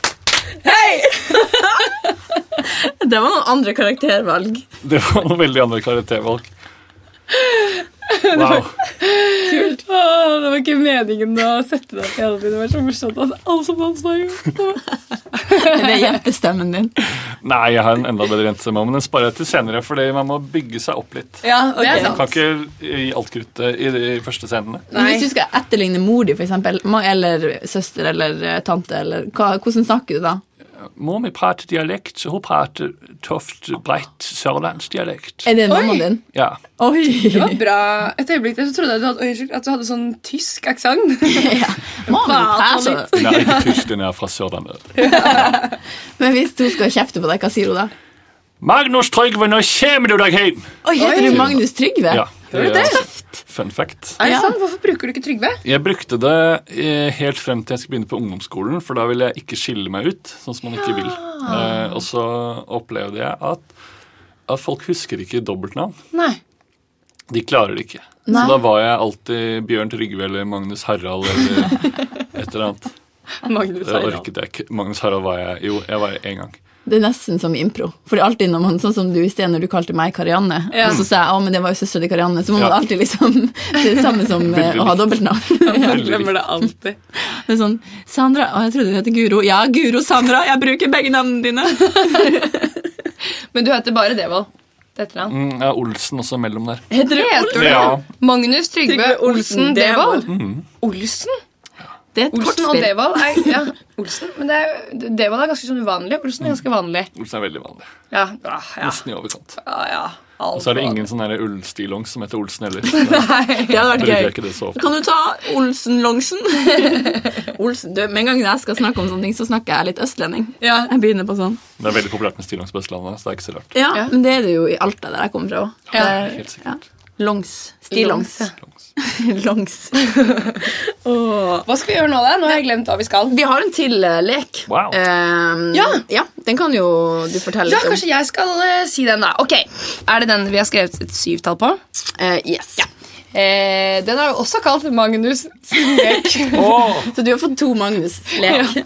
Speaker 1: Hei! det var noen andre karaktervalg.
Speaker 3: Det var noe veldig andre karaktervalg. Wow.
Speaker 5: Åh, det var ikke meningen å sette deg til Albin. Det var så morsomt at alle som dansa, gjorde det.
Speaker 1: Det er jentestemmen din.
Speaker 3: Nei, jeg har en enda bedre jentestemme, men den sparer jeg til senere, fordi man må bygge seg opp litt.
Speaker 5: Ja, det
Speaker 1: ok.
Speaker 5: er sant.
Speaker 3: Kan ikke gi alt kruttet i de første scenene.
Speaker 1: Men Hvis du skal etterligne mor di, for eksempel, ma- eller søster eller eh, tante, eller, hva, hvordan snakker du da?
Speaker 3: Mor mi prater dialekt, så hun prater tøft, bredt sørlandsdialekt.
Speaker 1: Er det
Speaker 5: Oi!
Speaker 1: mammaen din?
Speaker 3: Ja.
Speaker 1: Oi!
Speaker 5: Det var bra. Et øyeblikk der så trodde jeg du hadde, oi, unnskyld, at du hadde sånn tysk aksent.
Speaker 1: Mamma,
Speaker 5: Faen,
Speaker 1: altså.
Speaker 3: Hun er ikke tysk, hun er fra Sørlandet.
Speaker 1: Men hvis hun skal kjefte på deg, hva sier hun da?
Speaker 3: Magnus Trygve, nå kommer du deg hjem!
Speaker 1: Oi, heter
Speaker 5: Oi!
Speaker 1: du Magnus Trygve?
Speaker 3: Ja, det
Speaker 5: det?
Speaker 3: er altså fun fact.
Speaker 5: Er det
Speaker 1: Ja.
Speaker 5: sant? Hvorfor bruker du ikke Trygve?
Speaker 3: Jeg brukte det eh, helt frem til jeg skulle begynne på ungdomsskolen, for da ville jeg ikke skille meg ut, sånn som man ikke vil. Eh, og så opplevde jeg at, at folk husker ikke dobbeltnavn.
Speaker 5: Nei.
Speaker 3: De klarer det ikke.
Speaker 1: Nei.
Speaker 3: Så da var jeg alltid Bjørn Trygve eller Magnus Harald eller et eller annet.
Speaker 5: Magnus
Speaker 3: Det orket jeg ikke. Magnus Harald var jeg jo, jeg var én gang.
Speaker 1: Det er nesten som impro. For det er alltid når man, sånn som du i sted når du kalte meg Karianne, og så sa jeg å, men det var jo søstera til Karianne, så må man
Speaker 3: Ja.
Speaker 1: alltid liksom Det er det samme som eh,
Speaker 3: Veldig
Speaker 1: å ha
Speaker 3: likt.
Speaker 1: dobbeltnavn.
Speaker 5: Jeg glemmer det alltid.
Speaker 1: Det er sånn Sandra Å, jeg trodde du het Guro. Ja, Guro Sandra, jeg bruker begge navnene dine.
Speaker 5: Men du heter bare Devold. Det heter han.
Speaker 3: Mm, ja, Olsen også mellom der.
Speaker 1: Heter du
Speaker 5: Heter du
Speaker 3: Ja.
Speaker 5: Magnus Trygve,
Speaker 1: Trygve Olsen
Speaker 5: Olsen Devold? Olsen?
Speaker 1: Det er et
Speaker 6: Olsen og
Speaker 1: kortspill.
Speaker 6: Devold er, ja, Olsen, men det er, Devold er ganske sånn uvanlig. Olsen er ganske vanlig.
Speaker 3: Olsen er veldig vanlig.
Speaker 6: Ja, ja, ja,
Speaker 3: Nesten i overkant.
Speaker 6: ja, ja. Alt
Speaker 3: Og så er det
Speaker 6: for-
Speaker 3: ingen sånn der ullstillongs som heter Olsen heller. Da
Speaker 1: Det hadde vært
Speaker 3: bruker jeg
Speaker 1: gøy.
Speaker 3: ikke det så ofte.
Speaker 1: Kan du ta Olsen-Longsen? Olsen, du, Med en gang jeg skal snakke om sånne ting, så snakker jeg litt østlending.
Speaker 6: Ja.
Speaker 1: Jeg begynner på sånn.
Speaker 3: Det er veldig populært med stillongs på Østlandet, så det er ikke så rart.
Speaker 1: Ja,
Speaker 6: Ja.
Speaker 1: Men det er det jo i Alta, der jeg kommer fra òg. Ja.
Speaker 3: Helt sikkert.
Speaker 1: Longs. Stillongs.
Speaker 3: Longs.
Speaker 1: Longs.
Speaker 6: Hva skal vi gjøre nå, da? Nå har jeg glemt hva vi skal.
Speaker 1: Vi har en til eh, lek.
Speaker 3: Wow.
Speaker 1: Eh,
Speaker 6: Ja.
Speaker 1: Den kan jo du fortelle
Speaker 6: Ja,
Speaker 1: litt om.
Speaker 6: kanskje jeg skal eh, si den, da. Ok, Er det den vi har skrevet et syvtall på?
Speaker 1: Eh, yes.
Speaker 6: Eh, den er jo også kalt Magnus sin lek.
Speaker 3: Åh!
Speaker 1: Så du har fått to Magnus-lek.
Speaker 3: Er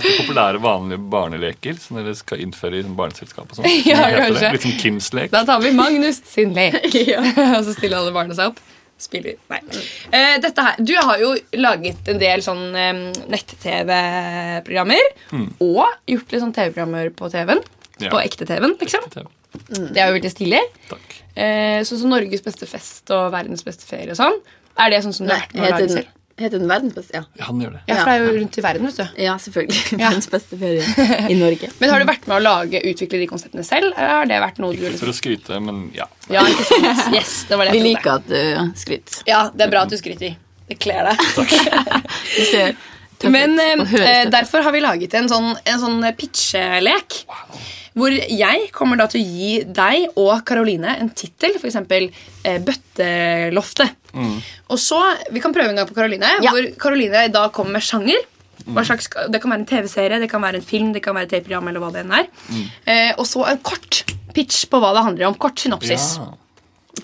Speaker 3: dette populære, vanlige barneleker som dere skal innføre i sånn barneselskap? og sånt?
Speaker 6: Ja,
Speaker 3: Hva heter det?
Speaker 6: kanskje.
Speaker 3: Litt sånn som Kims lek.
Speaker 6: Da tar vi Magnus sin lek. Og så stiller alle barna seg opp. Spiller. Nei. Eh, dette her, du har jo laget en del sånn eh, nett-TV-programmer. Og gjort litt sånn TV-programmer på TV-en.
Speaker 3: Ja.
Speaker 6: På ekte TV-en, liksom.
Speaker 3: TV.
Speaker 6: Det er jo veldig stilig.
Speaker 3: Takk.
Speaker 6: Eh, sånn som Norges beste fest og verdens beste ferie og sånn. Er det sånn som du
Speaker 1: Nei,
Speaker 6: har vært med å
Speaker 1: heter
Speaker 6: lage
Speaker 1: den,
Speaker 6: selv?
Speaker 1: heter den verdens beste? Ja,
Speaker 3: Ja, han gjør det.
Speaker 6: Ja, for det er jo rundt i verden, vet du. Mm.
Speaker 1: ja selvfølgelig. Verdens beste ferie i Norge.
Speaker 6: Men har du vært med å lage, utvikle de konseptene selv? Eller har det vært noe du
Speaker 3: Ikke
Speaker 6: liksom...
Speaker 3: for å skryte, men ja.
Speaker 6: Ja, ikke sant? Yes, det var det
Speaker 1: Vi
Speaker 6: jeg
Speaker 1: liker at du skryter.
Speaker 6: Ja, det er bra at du skryter. Det kler deg.
Speaker 1: Du ser tøff ut
Speaker 6: Men eh,
Speaker 1: og høres
Speaker 6: eh,
Speaker 1: tøff ut.
Speaker 6: derfor har vi laget en sånn, en sånn pitchelek. Hvor jeg kommer da til å gi deg og Karoline en tittel, f.eks. Eh, 'Bøtteloftet'. Og så, Vi kan prøve en gang på Karoline,
Speaker 1: Ja.
Speaker 6: hvor Karoline da kommer med sjanger. Hva slags, det kan være en TV-serie, det kan være en film, det kan være et TV-program. eller hva det enn er. Eh, og så en kort pitch på hva det handler om. Kort synopsis.
Speaker 3: Ja.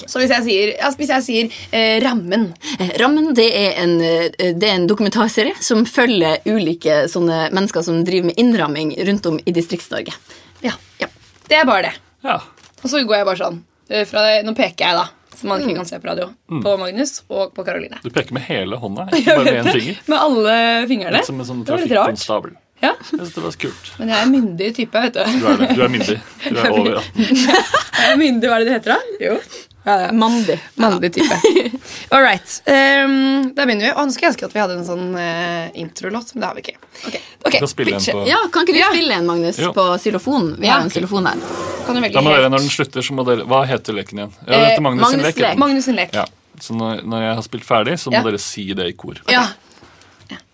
Speaker 6: Så hvis jeg sier, ja, hvis jeg sier eh, 'Rammen'
Speaker 1: Eh, Rammen det er, en, eh, det er en dokumentarserie som følger ulike sånne mennesker som driver med innramming rundt om i Distrikts-Norge.
Speaker 6: ja, ja, Det er bare det.
Speaker 3: ja.
Speaker 6: Og så går jeg bare sånn. eh, Fra, nå peker jeg, da. Som man ikke kan se på radio. På Magnus og på Karoline.
Speaker 3: Du peker med hele hånda, ikke bare med én finger.
Speaker 6: Med alle fingrene.
Speaker 3: Litt som en sånn
Speaker 6: det var litt rart.
Speaker 3: trafikkonstabel.
Speaker 6: Ja.
Speaker 3: Jeg synes det var så kult.
Speaker 6: Men jeg er myndig type, vet du.
Speaker 3: Du er, det. du er myndig. Du er over 18.
Speaker 6: Jeg er myndig, Hva er det det heter, da? Jo.
Speaker 1: Eh, Mandig.
Speaker 6: Mannlig type. All right. Um, da begynner vi. Og nå skulle jeg ønske at vi hadde en sånn eh, introlåt, men det har vi ikke. Ok,
Speaker 3: Du kan spille en
Speaker 6: pitche.
Speaker 3: på-
Speaker 1: Ja, Kan ikke du
Speaker 6: Ja.
Speaker 1: spille en, Magnus,
Speaker 3: Jo.
Speaker 1: på xylofon? Vi
Speaker 6: Ja.
Speaker 1: har jo en xylofon her.
Speaker 6: Kan du velge
Speaker 3: Da må dere,
Speaker 6: helt?
Speaker 3: Når den slutter, så må dere Hva heter leken igjen? Ja,
Speaker 6: Eh,
Speaker 3: det heter Magnus sin
Speaker 1: Magnus'
Speaker 3: lek. heter den.
Speaker 6: Magnus sin lek.
Speaker 3: Ja. Så når, når jeg har spilt ferdig, så må
Speaker 6: Ja.
Speaker 3: dere si det i kor.
Speaker 6: Ja.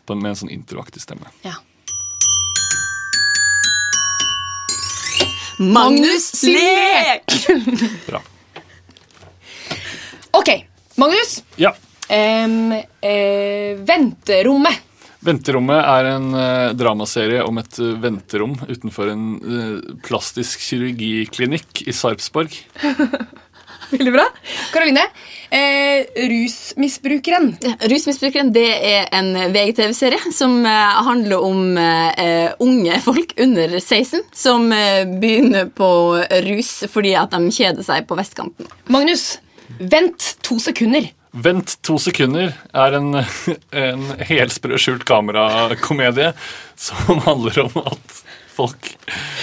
Speaker 3: På, med en sånn introaktig stemme.
Speaker 1: Magnus
Speaker 6: sin
Speaker 1: lek!
Speaker 3: Bra.
Speaker 6: Ok. Magnus.
Speaker 3: Ja.
Speaker 6: em, eh, venterommet.
Speaker 3: Venterommet er en eh, dramaserie om et eh, venterom utenfor en eh, plastisk kirurgiklinikk i Sarpsborg.
Speaker 6: Veldig bra. Karoline. Eh, rusmisbrukeren.
Speaker 1: Rusmisbrukeren det er en VGTV-serie som eh, handler om eh, unge folk under 16 som eh, begynner på rus fordi at de kjeder seg på vestkanten.
Speaker 6: Magnus, vent to sekunder.
Speaker 3: Vent to sekunder er en, en helsprø skjult kamerakomedie som handler om at folk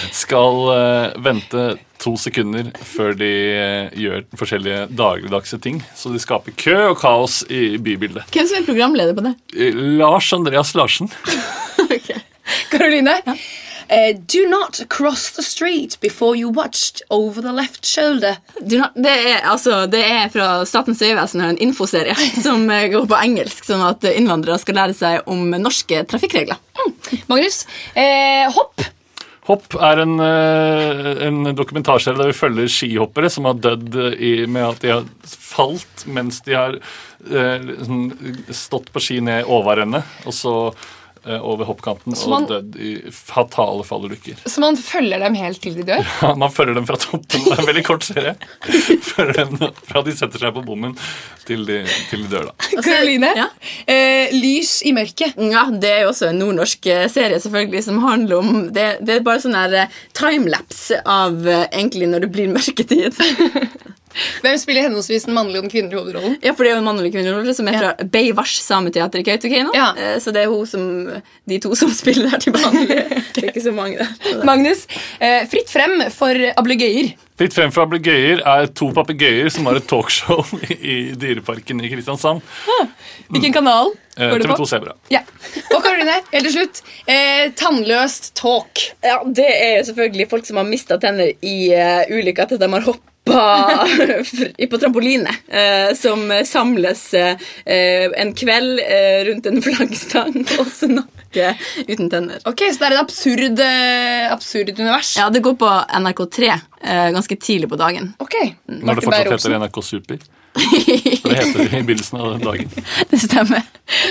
Speaker 3: skal eh, vente to sekunder før de eh, gjør forskjellige dagligdagse ting. Så de skaper kø og kaos i bybildet.
Speaker 1: Hvem som er programleder på det?
Speaker 3: Eh, Lars Andreas Larsen.
Speaker 6: Karoline. Eh, do not cross the street before you watched over the left shoulder.
Speaker 1: Du, det, er, altså, det er fra Statens vegvesen og en infoserie som eh, går på engelsk, sånn at innvandrere skal lære seg om norske trafikkregler.
Speaker 6: Magnus, eh, hopp.
Speaker 3: Hopp er en, eh, en dokumentarserie der vi følger skihoppere som har dødd eh, i, med at de har falt mens de har eh, liksom stått på ski ned overrennet, og så eh, over hoppkanten
Speaker 6: Så man-
Speaker 3: og dødd i fatale fallulykker.
Speaker 6: Så man følger dem helt til de dør.
Speaker 3: Ja, man følger dem fra toppen. Det er en veldig kort serie. Følger dem fra de setter seg på bommen, til de, til de dør, da.
Speaker 6: Karoline.
Speaker 1: Ja.
Speaker 6: Eh, lys i mørket.
Speaker 1: Ja, Det er jo også en nordnorsk eh, serie selvfølgelig som handler om Det, det er bare sånn her eh, timelapse av eh, egentlig når det blir mørketid.
Speaker 6: Hvem spiller henholdsvis den mannlige og den kvinnelige hovedrollen?
Speaker 1: Ja, for det er jo en mannlig kvinnerolle som er fra Beivars sameteater i Kautokeino.
Speaker 6: Ja.
Speaker 1: Eh, Så det er hun som, de to som spiller der til vanlig. Det er ikke så mange der. Så det-
Speaker 6: Magnus, eh, fritt frem for ablegøyer.
Speaker 3: Fritt frem for ablegøyer er to papegøyer som har et talkshow i Dyreparken i Kristiansand.
Speaker 6: Hvilken kanal
Speaker 3: Eh,
Speaker 6: går det
Speaker 3: TV2
Speaker 6: på?
Speaker 3: Sebra.
Speaker 6: Ja. Og Karoline, helt til slutt, eh, tannløst talk.
Speaker 1: Ja, det er jo selvfølgelig folk som har mista tenner i uh, ulykker etter at de har hoppa på trampoline, eh, som samles eh, eh, en kveld eh, rundt en flaggstang og snakker uten tenner.
Speaker 6: Ok, Så det er et absurd, eh, absurd univers.
Speaker 1: Ja, det går på NRK3 eh, ganske tidlig på dagen.
Speaker 6: Ok,
Speaker 3: Når det
Speaker 6: Martin
Speaker 3: fortsatt
Speaker 6: Beyer-Olsen.
Speaker 3: heter NRK Super. For det heter det i begynnelsen av den dagen.
Speaker 1: Det stemmer.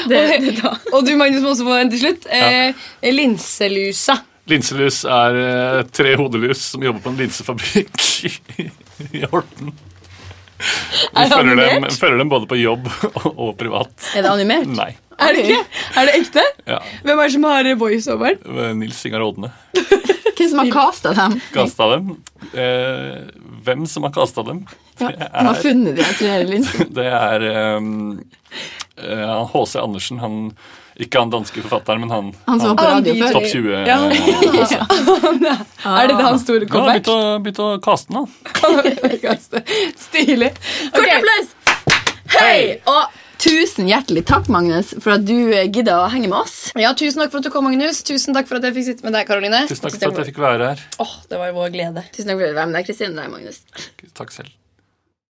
Speaker 1: Det, det da.
Speaker 6: Og du, Magnus, må også få en til slutt. Eh, linselusa.
Speaker 3: Linselus er eh, tre hodelus som jobber på en linsefabrikk i, i Horten. Vi følger dem, følger dem både på jobb og, og privat.
Speaker 1: Er det animert?
Speaker 3: Nei.
Speaker 6: Er det ikke? Er det ekte?
Speaker 3: Ja.
Speaker 6: Hvem er det som har voiceoveren?
Speaker 3: Nils Ingar Odne
Speaker 1: Hvem som har casta dem?
Speaker 3: kasta dem. Eh, hvem som har kasta dem?
Speaker 1: Ja, som har funnet de her tre liksom. linsene?
Speaker 3: Det er ehm, eh, han H.C. Andersen. Han, ikke han danske forfatteren, men han,
Speaker 1: Han som var på
Speaker 6: Han
Speaker 1: radio
Speaker 6: DJ.
Speaker 1: før?
Speaker 3: Topp 20.
Speaker 6: Ja.
Speaker 3: eh, H.C.
Speaker 6: Er dette hans store
Speaker 3: Nå har jeg
Speaker 6: comeback?
Speaker 3: begynt å, begynt å kaste den, da.
Speaker 6: Stilig.
Speaker 1: Kort
Speaker 6: Ok.
Speaker 1: applaus! Hei! Og tusen hjertelig takk, Magnus, for at du eh, gidda å henge med oss.
Speaker 6: Ja, Tusen takk for at du kom, Magnus. Tusen takk for at jeg fikk sitte med deg, Karoline.
Speaker 3: Tusen takk for at jeg fikk være her.
Speaker 6: Åh, det var jo vår glede.
Speaker 1: Tusen takk for at du var med deg, Kristin. Det er Magnus.
Speaker 3: Takk selv.